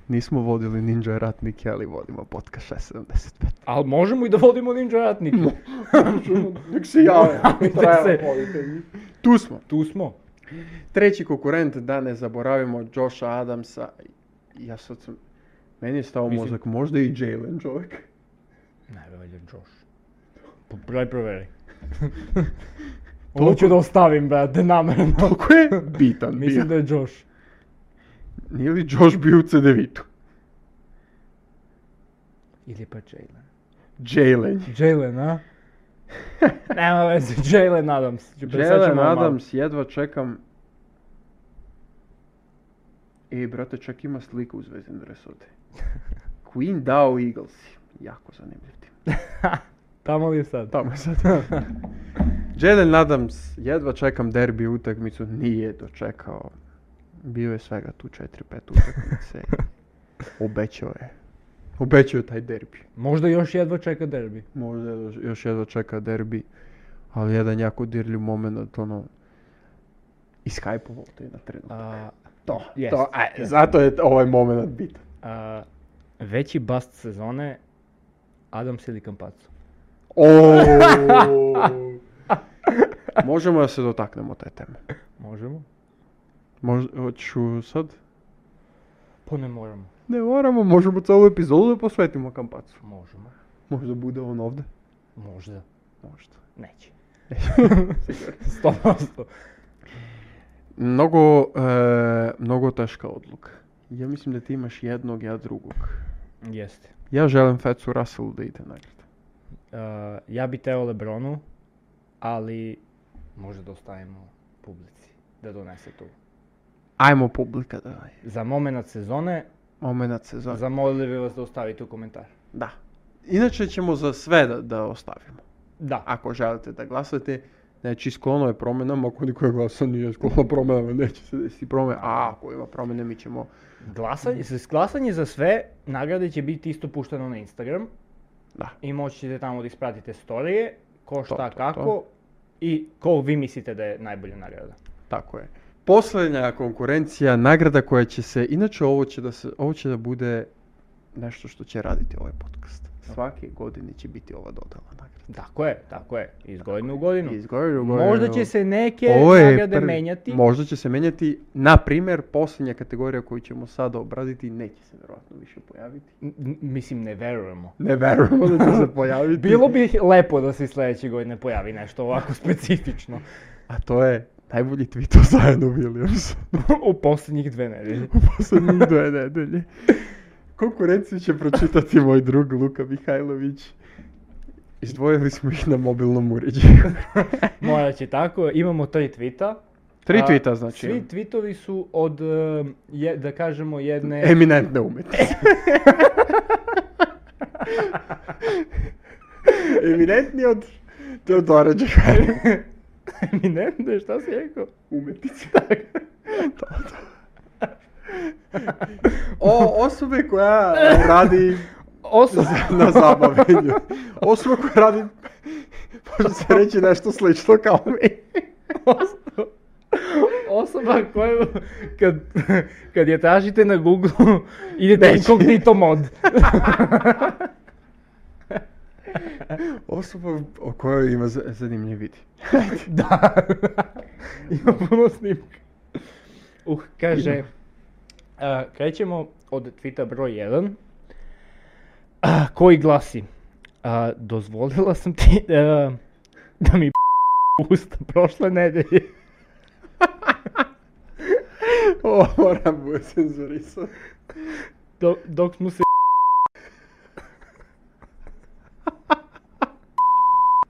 nismo vodili Ninja ratnike, ali vodimo podcast 675. Ali možemo i da vodimo ninja ratnike. Nek se jave, Javite treba se. Tu smo. Tu smo. Treći konkurent, da ne zaboravimo, Josha Adamsa. Ja sad sam... Meni je stao Mislim- mozak, možda i Jalen čovjek. Najbolje Josh. Daj proveri. Ovo ću da ostavim, brate, namerno. Toliko je bitan bio. Mislim da je Josh. Nije li Josh bio u CDV-tu? Ili pa Jalen. Jalen. Jalen, a? Nema veze, Jalen Adams. Ću presačemo Jalen malo. Adams, jedva čekam... E, brate, čak ima sliku u zvezdnim dresu ovdje. Queen Dao Eagles. Jako zanimljiv tim. Tamo li je sad? Tamo je sad. Jalen Adams, jedva čekam derbi utakmicu, nije dočekao. Bio je svega tu 4-5 utakmice. Obećao je. Obećao je taj derbi. Možda još jedva čeka derbi. Možda je još- još jedva čeka derbi, ali jedan jako dirljiv moment, ono, iskajpovo to je na trenutak. A, To, jest, to, aj, zato je ovaj moment bitan. a, veći bast sezone, Adams ili Kampacu. Možemo da se dotaknemo te teme. Možemo? Možda, hoću sad? Pa ne moramo. Ne moramo, možemo celu epizodu da posvetimo kampacu. Možemo. Možda bude on ovde. Možda. Možda. Neće. 100%. Mnogo, e, mnogo teška odluka. Ja mislim da ti imaš jednog, ja drugog. Jeste. Ja želim Fecu Russellu da ide nagrada. A, ja bi teo Lebronu, ali možda da ostavimo publici da donese tu. Ajmo publika da je Za momenat sezone, moment sezone. zamolili bi vas da ostavite u komentar. Da. Inače ćemo za sve da, da ostavimo. Da. Ako želite da glasate, znači sklono je promenama, ako niko je glasan nije sklono promenama, neće se desiti promene. A ako ima promene, mi ćemo... Glasanje, s- glasanje za sve nagrade će biti isto pušteno na Instagram. Da. I moći ćete tamo da ispratite storije, ko šta to, to. kako i ko vi mislite da je najbolja nagrada. Tako je. Posljednja konkurencija, nagrada koja će se, inače ovo će da, se, ovo će da bude nešto što će raditi ovaj podcast. Svake godine će biti ova dodala nagrada. Tako je, tako je. Iz godine u godinu. Iz godine u Možda godinu. će se neke Ovo je nagrade prvi- menjati. Možda će se menjati, na primjer, posljednja kategorija koju ćemo sada obraditi neće se vjerojatno više pojaviti. N- n- mislim, ne verujemo. Ne verujemo da će se pojaviti. Bilo bi lepo da se i sljedeće godine pojavi nešto ovako specifično. A to je najbolji tweet o Zionu Williamsu u posljednjih dve nedelje. u posljednjih dve nedelje. Konkurenciju će pročitati moj drug Luka Mihajlović. Izdvojili smo ih na mobilnom uređaju. Moja će tako, imamo tri tvita. Tri A, tvita, znači. Svi tvitovi su od, e, je, da kažemo, jedne... Eminentne umetnice. Eminentni od Teodora Đefari. Eminentne, šta si rekao? Umetnice. Da, da. O, osobe koja radi Osoba. na zabavenju. Osoba koja radi, može se reći nešto slično kao mi. Osoba koja, kad, kad je tražite na Google, idete Neće. inkognito mod. Osoba o kojoj ima za- zanimljiv vid. da. Ima puno snimka. Uh, kaže, a, krećemo od tvita broj 1, a, koji glasi, a, dozvolila sam ti a, da mi usta prošle nedelje. O, moram bude cenzurisan. Dok, dok smo se...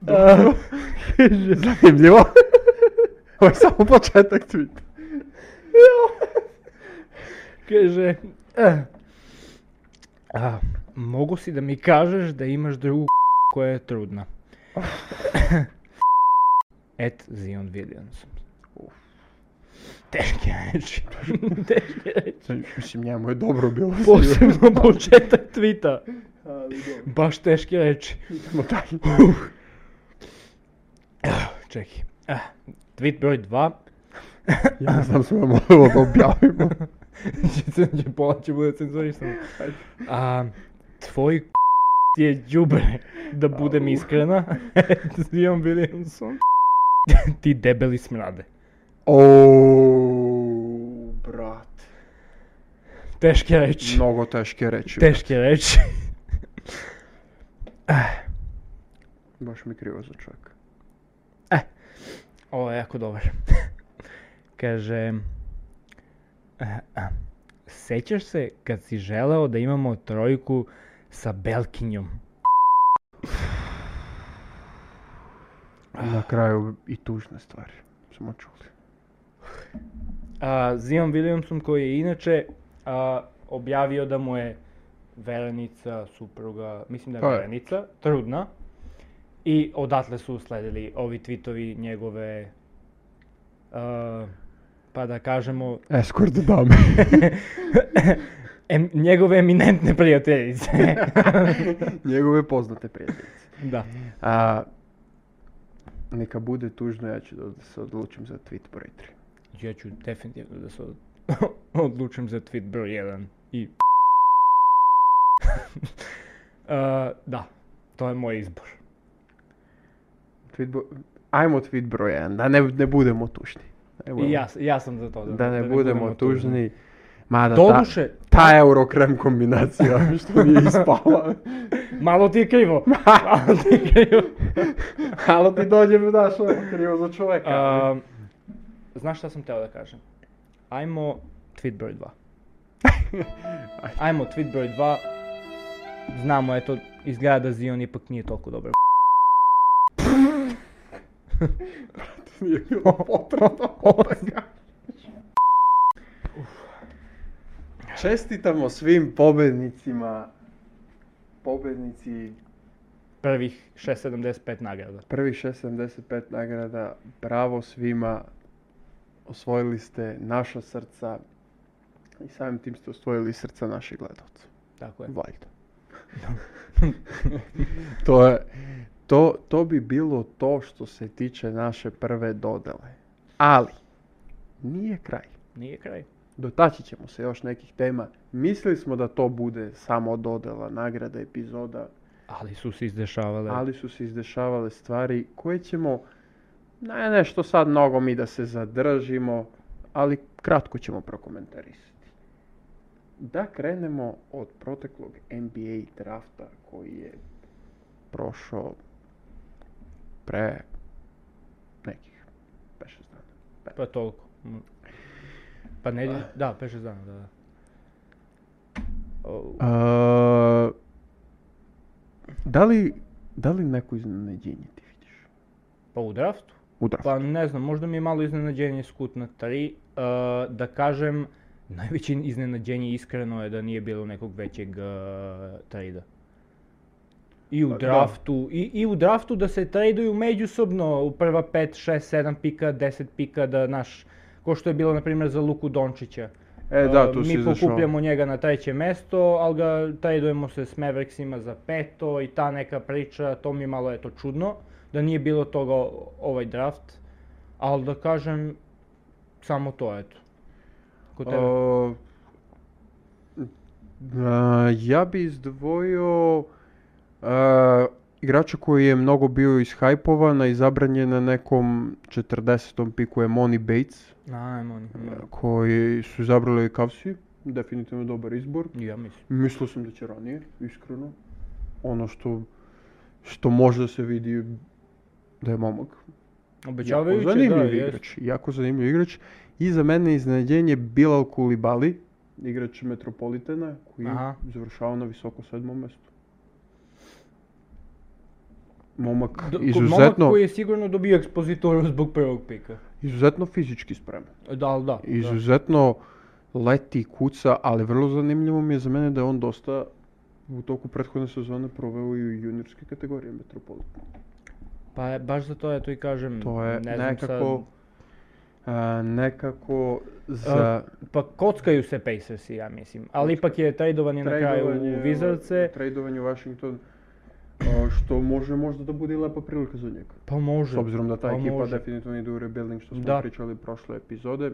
A, kaže, Zanimljivo. Ovo je samo početak tweeta. kaže, "E, a, mogu si da mi kažeš da imaš drugu koja je trudna. Et Zion Williams. Teške reči. Teške reči. Mislim, njemu je dobro bilo. sigurno. Posebno početak tvita. Baš teške reči. Idemo dalje. Čekaj. Ah, tweet broj 2. Ja ne znam smo vam ovo da objavimo. će, se- će pola će bude cenzurisano. A, tvoj k- je đubre, da budem iskrena. Zion Williamson. Ti debeli smrade. O, brat. Teške reči. Mnogo teške reči. Teške reči. Baš mi krivo za čovjeka. Ovo je jako dobar. Kaže... a, a, Sećaš se kad si želeo da imamo trojku sa Belkinjom? Na kraju i tužne stvari. Smo čuli. a, Zion Williamson koji je inače a, objavio da mu je verenica, supruga, mislim da Pa je je. verenica, trudna. I odatle su usledili ovi tvitovi njegove, a, pa da kažemo, Escort dame. em- njegove eminentne prijateljice. Njegove poznate prijateljice. da. A, neka bude tužno, ja ću da se odlučim za tweet broj 3. Ja ću definitivno da se od- odlučim za tweet broj 1 i A, E, da, to je moj izbor. Tweet bro... Ajmo tweet broj 1, da ne, ne budemo tužni. Ne budemo- I ja, s- ja sam za to. Da ne budemo tužni. Mada ta, Doduše, ta eurokrem kombinacija što nije ispala. malo ti je krivo. Malo ti je krivo. Halo ti dođe mi daš ovo krivo za čoveka. A, E, znaš šta sam teo da kažem? Ajmo tweet broj 2. Ajmo tweet broj 2. Znamo, eto, izgleda da Zion ipak nije toliko dobar. Nije bilo potrebno ovo da kažeš. Čestitamo svim pobednicima pobednici Prvih 6.75 nagrada. prvih 675 nagrada. Bravo svima. Osvojili ste naša srca i samim tim ste osvojili srca naših gledalca. Tako je. Valjda. to, je, to, to bi bilo to što se tiče naše prve dodele. Ali, nije kraj. Nije kraj. Dotaći ćemo se još nekih tema. Mislili smo da to bude samo dodela, nagrada, epizoda, Ali su se izdešavale. ali su se izdešavale stvari koje ćemo, ne nešto sad mnogo mi da se zadržimo, ali kratko ćemo prokomentarisati. Da krenemo od proteklog NBA drafta koji je prošao pre nekih 5-6 dana. Pa toliko. Mm. Pa ne, da, 5-6 dana, da, da. O, A, Uh, da li Дали некој изненадење ти видиш? Па у драфту? Удра. Па не знам, може да ми е мало изненаđenje скут на 3. А, да кажем, највеќе изненаđenje искрено е да nije било неког веќег а, трейда. И у да. драфту, и, и у драфту да се трейдују меѓусобно у прва 5, 6, 7 пика, 10 пика да наш ко што е било на пример за Луку Дончиća. Е, да, ту ми си зашо. покупljamo njega na treće mesto, ali ga tradujemo se s Mavericksima za peto i ta neka priča, to mi je malo eto čudno, da nije bilo toga o- ovaj draft, ali da kažem, samo to eto. Kod tebe. А, а, ја би издвојо а, играча кој е многу био исхајпован, а избран е на неком 40-том пику е Мони Бейтс, Ajmo, ajmo. кој су забрали Кавси, дефинитивно добар избор. ja mislim. Мислил сум да ќе ранее, искрено. Оно што што може да се види да е момак. Obećavajuće, da, Znači, zanimljiv jest. igrač, jako zanimljiv igrač. I za mene iznenađenje Bilal Kulibali, igrač Metropolitana, koji Aha. završava na visoko sedmom mestu. Momak Do- ko- izuzetno, Momak koji je sigurno dobio ekspozitoru zbog prvog pika. izuzetno fizički spreman. Da, ali da. da. Izuzetno leti, kuca, ali vrlo zanimljivo mi je za mene da je on dosta u toku prethodne sezone proveo i u juniorske kategorije Metropolitana. Pa e, baš za to e, eto i kažem, To je ne znam sad- nekako... a, nekako za... A, Pa kockaju se Pacersi, ja mislim. Ali ipak je trajdovan je na kraju u е, Wizardse. Trejdovanje u Washington, a, što može možda da bude i lepa prilika za njega. Pa može. S obzirom da ta pa ekipa može. definitivno ide u rebuilding što smo Da. pričali prošle epizode.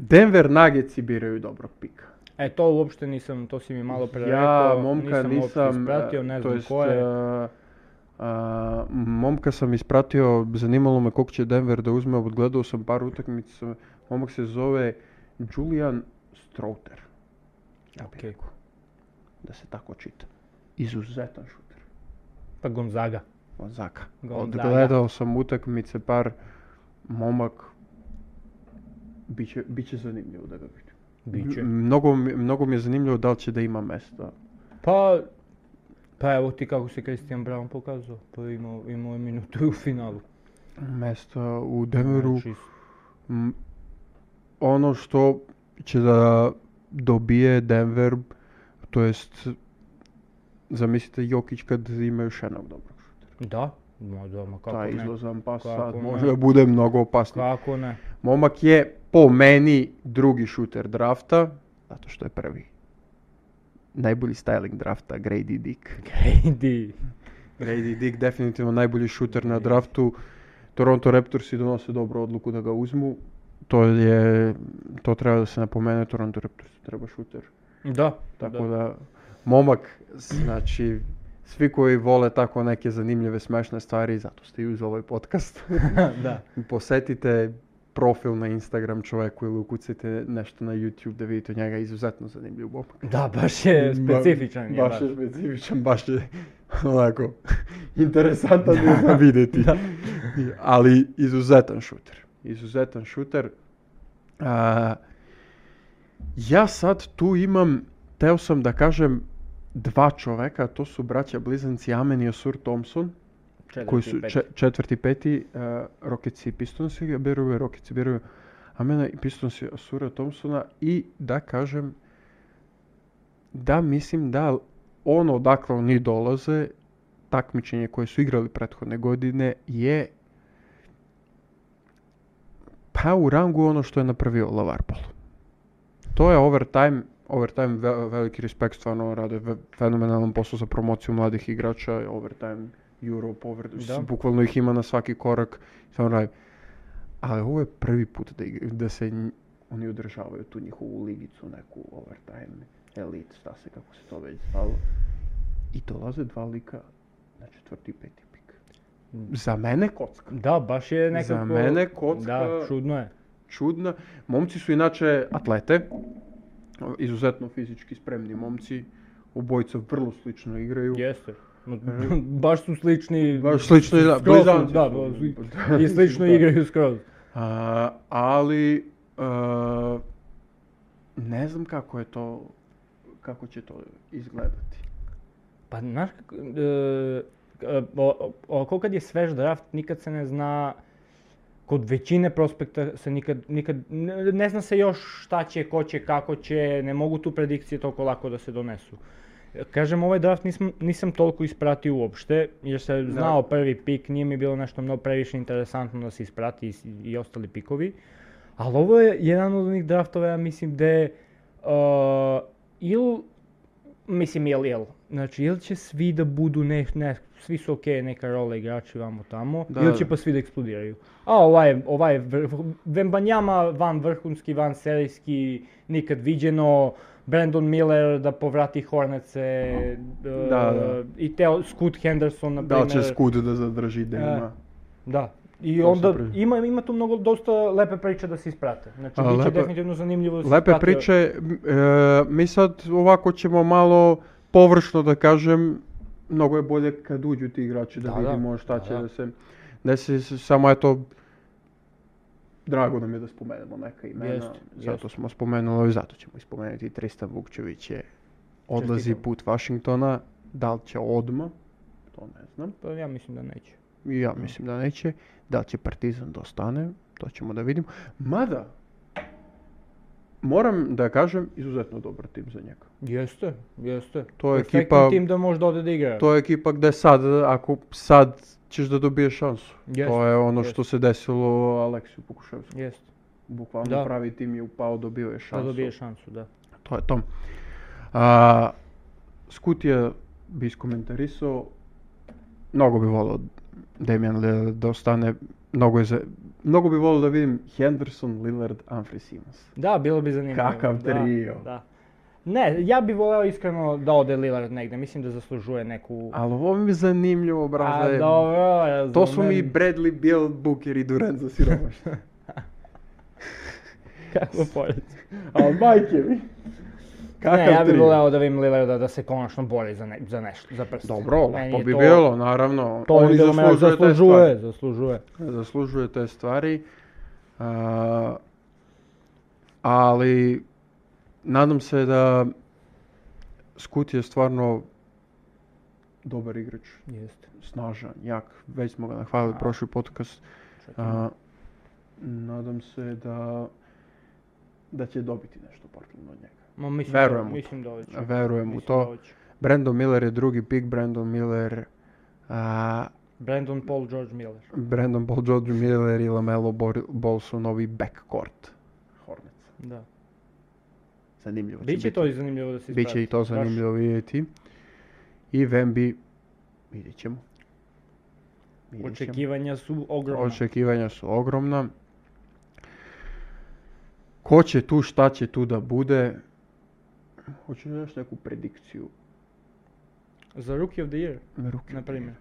Denver Nuggets i biraju dobrog pika. E, to uopšte nisam, to si mi malo pre Ja rekao, momka nisam, uopšte nisam, e, ispratio, ne to znam jest, ko je. a, a, eh, momka sam ispratio, zanimalo me koliko će Denver da uzme, odgledao sam par utakmica, momak se zove Julian Strouter. Ja bih Okej. rekao da se tako čita. Izuzetan šuter. Pa Gonzaga. Gonzaga. Gonzaga. Odgledao sam utakmice par momak. Biće, biće zanimljivo da ga vidim. Biće. M- Mnogo, mi- mnogo mi je zanimljivo da li će da ima mesta. Pa, pa evo ti kako se Christian Brown pokazao. Pa imao, imao je minutu u finalu. Mesta u Denveru. Znači, M, ono što će da dobije Denver, to jest zamislite Jokić kad ima još jednog dobrog šutera. da, ma da, ma kako Taj ne. izlazan pas Kako sad ne? može da bude mnogo opasniji. Kako ne. Momak je po meni drugi šuter drafta, zato što je prvi. Najbolji styling drafta, Grady Dick. Grady. Grady Dick definitivno najbolji šuter na draftu. Toronto Raptorsi donose dobru odluku da ga uzmu. To je, to treba da se napomene, Toronto Raptorsu treba šuter. Da, Tako da, momak, znači, svi koji vole tako neke zanimljive, smešne stvari, zato ste i uz ovaj podcast. da. Posetite profil na Instagram čoveku ili ukucajte nešto na YouTube da vidite njega, izuzetno zanimljiv momak. Da, baš je specifičan. je, Baš je specifičan, baš je onako interesantan je za videti. Ali izuzetan šuter. Izuzetan šuter. A, ja sad tu imam, teo sam da kažem, dva čoveka, to su braća blizanci Amen i Osur Thompson, Četvrti, koji su peti. če- četvrti, peti, uh, Rockets i Pistons ga biraju, Rockets biraju Amena i Pistons i Asura Thompsona i da kažem da mislim da ono odakle oni dolaze, takmičenje koje su igrali prethodne godine je pa u rangu ono što je napravio Lavar Ball. To je overtime, overtime ve- veliki respekt stvarno rade ve- fenomenalan posao za promociju mladih igrača, overtime Europe, over, s- Da. bukvalno ih ima na svaki korak, stvarno rade. Ali ovo je prvi put da, igra- da se nj- oni održavaju tu njihovu ligicu, neku overtime, elite, šta se kako se to već zvalo. I dolaze dva lika na četvrti i peti pik. Za mene kocka. Da, baš je nekako... mene kocka- Da, čudno je. čudna. Momci su inače atlete, izuzetno fizički spremni momci, obojica vrlo slično igraju. Jeste. No, Baš su slični... Mhm. Baš slično i da, skroz su- blizanci da, su. ba- sli- Da. I slično Da. igraju skroz. A, ali, e, a, ne znam kako je to, kako će to izgledati. Па, знаеш, како, е, е, о- о- о- колку кад е свеж драфт, никад се не зна, код веќине проспекта се никад, никад не, не зна се још шта ќе, ко ќе, како ќе, не могу ту предикција толку лако да се донесу. Е, Кажем, овој драфт нисам, нисам толку испратил уопште, јер се знао први пик, ние ми било нешто многу превише интересантно да се испрати и, с- и остали пикови. Али ово е еден од оних драфтове, ја мислим, де а, ил Мислим, ел, ел. Значи, ел ќе сви да буду не, не, сви се окей, нека рола играчи вамо тамо, Да, да, ил да. ќе па сви да експлодирају. А ова е, ова е вр... Вембањама ван врхунски, ван серијски, никад видено, Брендон Милер да поврати Хорнеце, да, да. и те, Скут Хендерсон, на Да, че скуд да задржи да Е, има. Да. И Тоа се онда прави. има има ту многу доста лепе прича да се испрате. Значи А, биќе лепе- дефинитивно занимљиво да се Лепе испрати. priče, e, mi sad ovako ćemo malo površno da kažem, mnogo je bolje kad uđu ti igrači da, Da, da. vidimo šta Da, će da. da, se desi, s- samo eto, drago nam je da spomenemo neka imena, Jest, zato smo spomenuli, zato ćemo i spomenuti Tristan Vukčević je odlazi Čestitam. put Vašingtona, da li će odma, to ne znam, Па ја мислам да неќе. i ja mislim da neće, da li će Partizan da ostane, to ćemo da vidimo, mada, Moram da kažem, izuzetno dobar tim za njega. Јесте, јесте. Тоа е Перфектен екипа- тим да може да оде да игра. To je ekipa gde sad, ako sad ćeš da dobiješ šansu. Jeste, to je ono jeste. što se desilo Aleksiju Pokuševsku. Јесте. да Bukvalno Da. pravi tim je upao, dobio je Да šansu. добие шансу, да. To je to. A, Skutija bi iskomentarisao, mnogo bi volao Damian Lillard da ostane, mnogo, je za, mnogo bi volao da vidim Henderson, Lillard, Anfri Simons. Да, било би занимљиво. Какав да, трио. Да. Не, ја би волео искрено да оде Лилард негде, мислим да заслужуе неку... Ali ovo mi je zanimljivo, brate. а добро, разумем. to su mi Bradley, Bill, Booker i Durant za siromašne. Какво поред? Ali majke mi. Не, ја би trio? волео да видим Лиларда да се конечно бори за, не, за нешто, за прст. Dobro, Мени lepo е bi тоа- bilo, naravno. Тоа Oni би било мене zaslužuju te заслужуе, заслужуе. stvari. Zaslužuju te stvari. A, ali, nadam se da Skut je stvarno dobar igrač, Jeste. snažan, jak. Već smo ga nahvalili prošli podcast. A, nadam se da da će dobiti nešto partijalno od njega. Ма мислим, Верувам да, у мислим да оќе. Verujem u to. Brandon Miller je drugi pik, Brandon Miller, a, Брендон Пол Джордж Милер. Brandon Ball, George Miller i Lamelo Bor- Ball su novi backcourt. Hornets. Да. Zanimljivo će Биќе biti. тој занимљиво да се испрати. Biće i to баш. zanimljivo vidjeti. I Vembi, vidjet ćemo. Vidjet ćemo. Очекивања су огромна. Očekivanja su ogromna. Ko će tu, šta će tu da bude? Hoću li još neku predikciju? За Rookie of the Year, Ruki. например.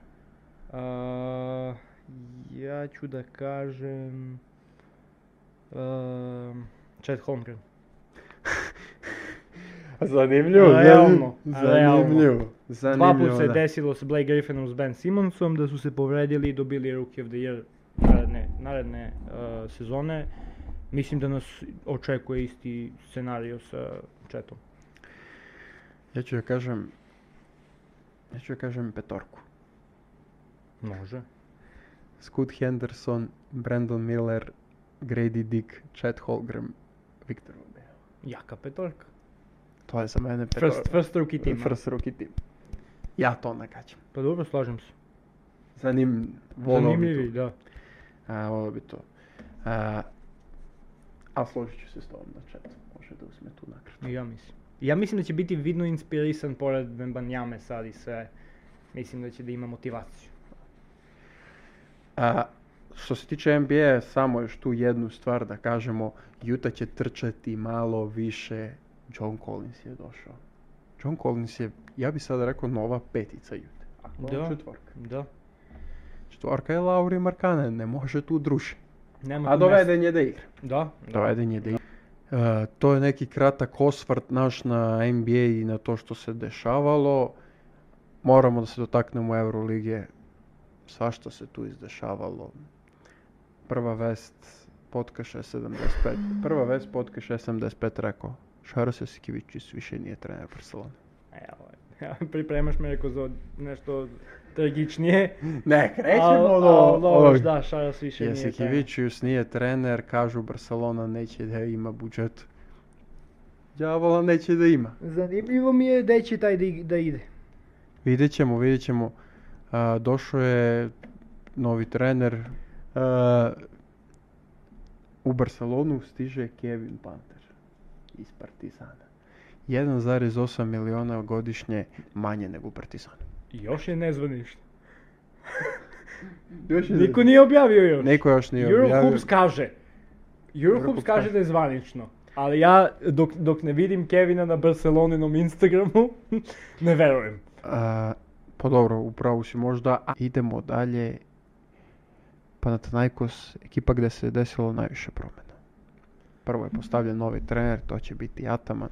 А, ја ću да кажем... а, Чет Холмгрен. Zanimljivo, Realno, realno. Zanimljivo. Два пут Zanimljivo, се da. десило со Блейк Грифином с Бен Симонсом да су се повредили и добили Rookie of the Year eh, наредне, наредне а, сезоне. Мислим да нас очекува исти сценарио со Четом. Ja ću joj kažem... Ja ću joj kažem petorku. Може. Scoot Henderson, Brandon Miller, Grady Dick, Chad Holgram, Viktor Vobej. Јака петорка. To je za mene petorka. First, first rookie team. Pa First rookie team. Ja to nakačem. Па добро, слажем се. Zanim, volao Занимљиви, bi to. да. A, volao bi to. A, a složit ću se s tobom na chat. Može da uzme tu nakratko. И ја мислам. И Ја мислам да ќе биде видно инспирисан поред Вембањаме сад и се. Мислим да ќе да има мотивација. A, što se tiče NBA, samo još tu jednu stvar da kažemo, Utah će trčati malo više, John Collins je došao. John Collins je, ja bi sada rekao, nova petica Utah. Ako Da. da. četvorka. Да. Četvorka je Lauri Markanen, ne može tu druše. Нема A ту место. doveden je da igra. Да. да. Doveden je da igra. E, to je neki kratak osvrt naš na NBA i na to što se dešavalo. Moramo da se dotaknemo Euroligije. Svašta se tu izdešavalo. Prva vest, podcast 75. Prva vest, podcast 75 rekao. Šaro Sikivić više nije trener Barcelona. Ево. е. Pripremaš me rekao za nešto tragičnije. Ne, krećemo al- do al dobro, ovog. da, Šaras više nije taj. Jasikevičius nije trener, kažu Barcelona neće da ima budžet. Djavola neće da ima. Zanimljivo mi je gde će taj da, ig- da ide. Vidjet ćemo, vidjet ćemo. A, došao je novi trener. A, u Barcelonu stiže Kevin Panter iz Partizana. 1,8 miliona godišnje manje nego u Partizanu. Još je nezvanično. Niko nije objavio još. Neko još nije objavio. Eurohoops kaže. Eurohoops да Eurohoops kaže kaže. da je zvanično. Ali ja, dok, dok ne vidim Kevina na Barceloninom Instagramu, ne verujem. A, pa dobro, upravo si možda. A idemo dalje. Panathinaikos, ekipa gdje se desilo najviše promjena. Prvo je postavljen novi trener, to će biti Ataman.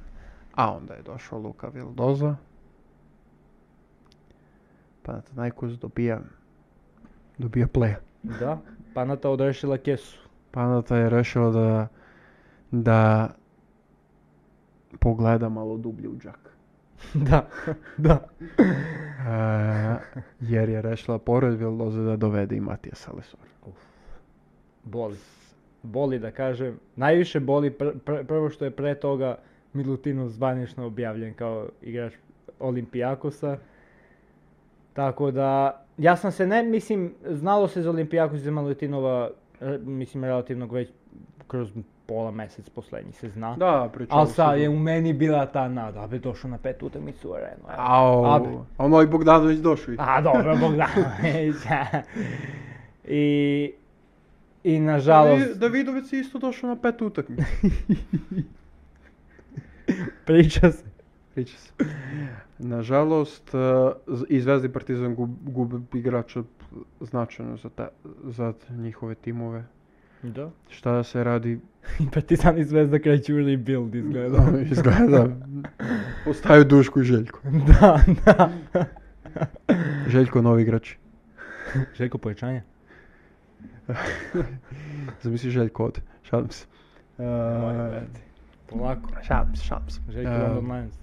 A onda je došao Luka Vildoza. Panathinaikos dobija dobija pleja. Da, Panata odrešila kesu. Panata je rešila da da pogleda malo dublje u džak. da, da. E, jer je rešila pored Vildoze da dovede i Matija Salesor. Boli. Boli da kažem. Najviše boli pr- pr- prvo što je pre toga Milutinov zvanično objavljen kao igrač Olimpijakosa. Tako da, ja sam se ne, mislim, znalo se za Olimpijakos i za Milutinova, re- mislim, relativno već kroz pola mjesec poslednji se zna. Da, Ali sad je u meni bila ta nada, abe došao na pet utakmicu u arenu. evo. Au, Abe. a ono i Bogdanović došao. i- A dobro, Bogdanović. I, I nažalost, Davi- Davidović je isto došao na pet utakmica. priča se. Priča se. Nažalost, e, z- i Zvezda i Partizan gub, gube igrača značajno za, ta, za njihove timove. Da. Šta da se radi, I Partizan i Zvezda kreću u rebuild izgleda. Ono, izgleda. Ostaju Duško i Željko. da, da. Željko novi igrač. Željko povećanje. Zamisli Željko od. Šalim se. E, Polako. šalim se, šalim se. Željko E, London Lions.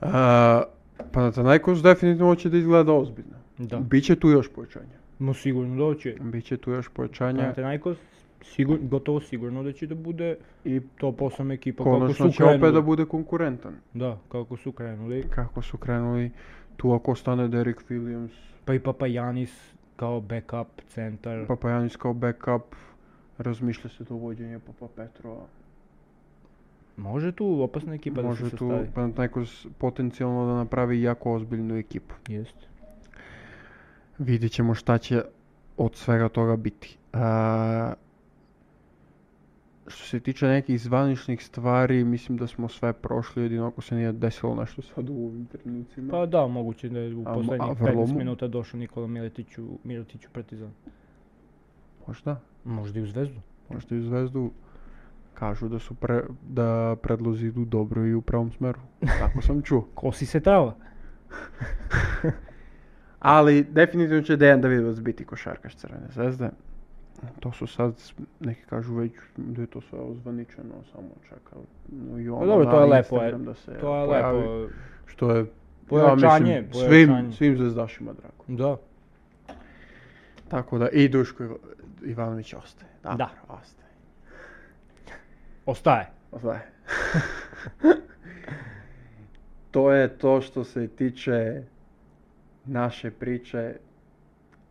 a, pa Panathinaikos definitivno hoće da izgleda ozbiljno. Da. E. Biće tu još pojačanja. Mu sigurno doći. Biće tu još pojačanja. Panathinaikos sigur, gotovo sigurno da će da bude I top 8 ekipa konačno kako su će opet krenuli. da bude konkurentan. Da, kako su krenuli. Kako su krenuli tu ako ostane Derek Williams, Pa i Papajanis kao backup centar. Papajanis kao backup, razmišlja se dovođenje Papa Petrova. Može tu opasna ekipa da Može se tu sastavi. Panathinaikos potencijalno da napravi jako ozbiljnu ekipu. Jeste. Vidjet ćemo šta će od svega toga biti. A, što se tiče nekih zvaničnih stvari, mislim da smo sve prošli, jedino ako se nije desilo nešto sad u ovim trenucima. Pa da, moguće da je u A mo- poslednjih a vrlo 15 mo- minuta došao Nikola Miletiću, Miletiću Partizan. Možda. Možda i u Zvezdu. Možda i u Zvezdu kažu da su pre, da predlozi idu dobro i u pravom smeru. Tako sam čuo. Kosi se trava. Ali definitivno će Dejan Davidovac biti košarkaš Crvene zvezde. To su sad, neki kažu već da je to sve ozvaničeno, samo čeka. No, i ono Pa dobro, na to je lepo, Instagram e, da se To je pojavi, lepo. Što je, ja Pojačanje, mislim, pojačanje. svim, svim zvezdašima drago. Da. Tako da, i Duško Iva- Ivanović ostaje. Da, Da. ostaje. Ostaje. Ostaje. to je to što se tiče naše priče.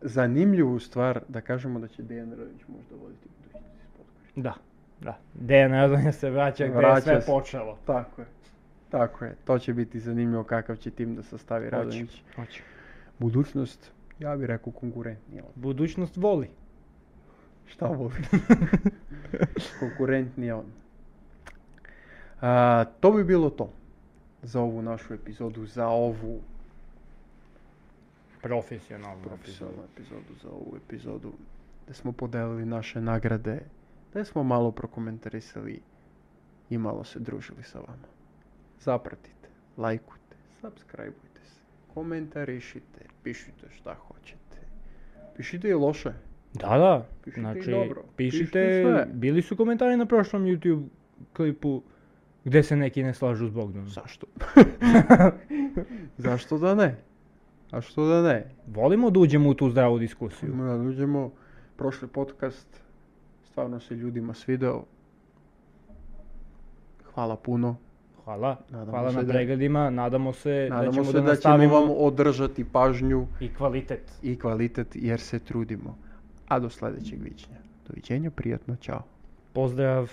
Zanimljivu stvar da kažemo da će Dejan Radović možda voditi budućnosti podcast. Da. Da. Dejan Radonja se vraća gdje je Vraća sve se. počelo. Tako je. Tako je. To će biti zanimljivo kakav će tim da sastavi Radonjić. Hoće. Budućnost, ja bih rekao konkurentnija. od- Budućnost voli. Šta voli? konkurentnija on. A, to bi bilo to za ovu našu epizodu, za ovu Profesionalno. profesionalnu epizodu, za ovu epizodu da smo podelili naše nagrade, da smo malo prokomentarisali i malo se družili sa vama. Zapratite, lajkujte, subscribeujte se, komentarišite, pišite šta hoćete. Pišite i loše. Da, da. Pišite i Znači, dobro. pišite, Pišite sve. bili su komentari na prošlom YouTube klipu Gde se neki ne slažu s Bogdanom. Zašto? Zašto da ne? A što da ne? Volimo da uđemo u tu zdravu diskusiju. Idemo da uđemo, prošli podcast, stvarno se ljudima svideo. Hvala puno. Hvala. Nadamo Hvala se na da- pregledima. Nadamo se da Nadamo ćemo se da da ćemo nastavimo vam održati pažnju i kvalitet. i kvalitet jer se trudimo. A do sljedećeg viđenja. Doviđenja, prijatno, čao. Pozdrav.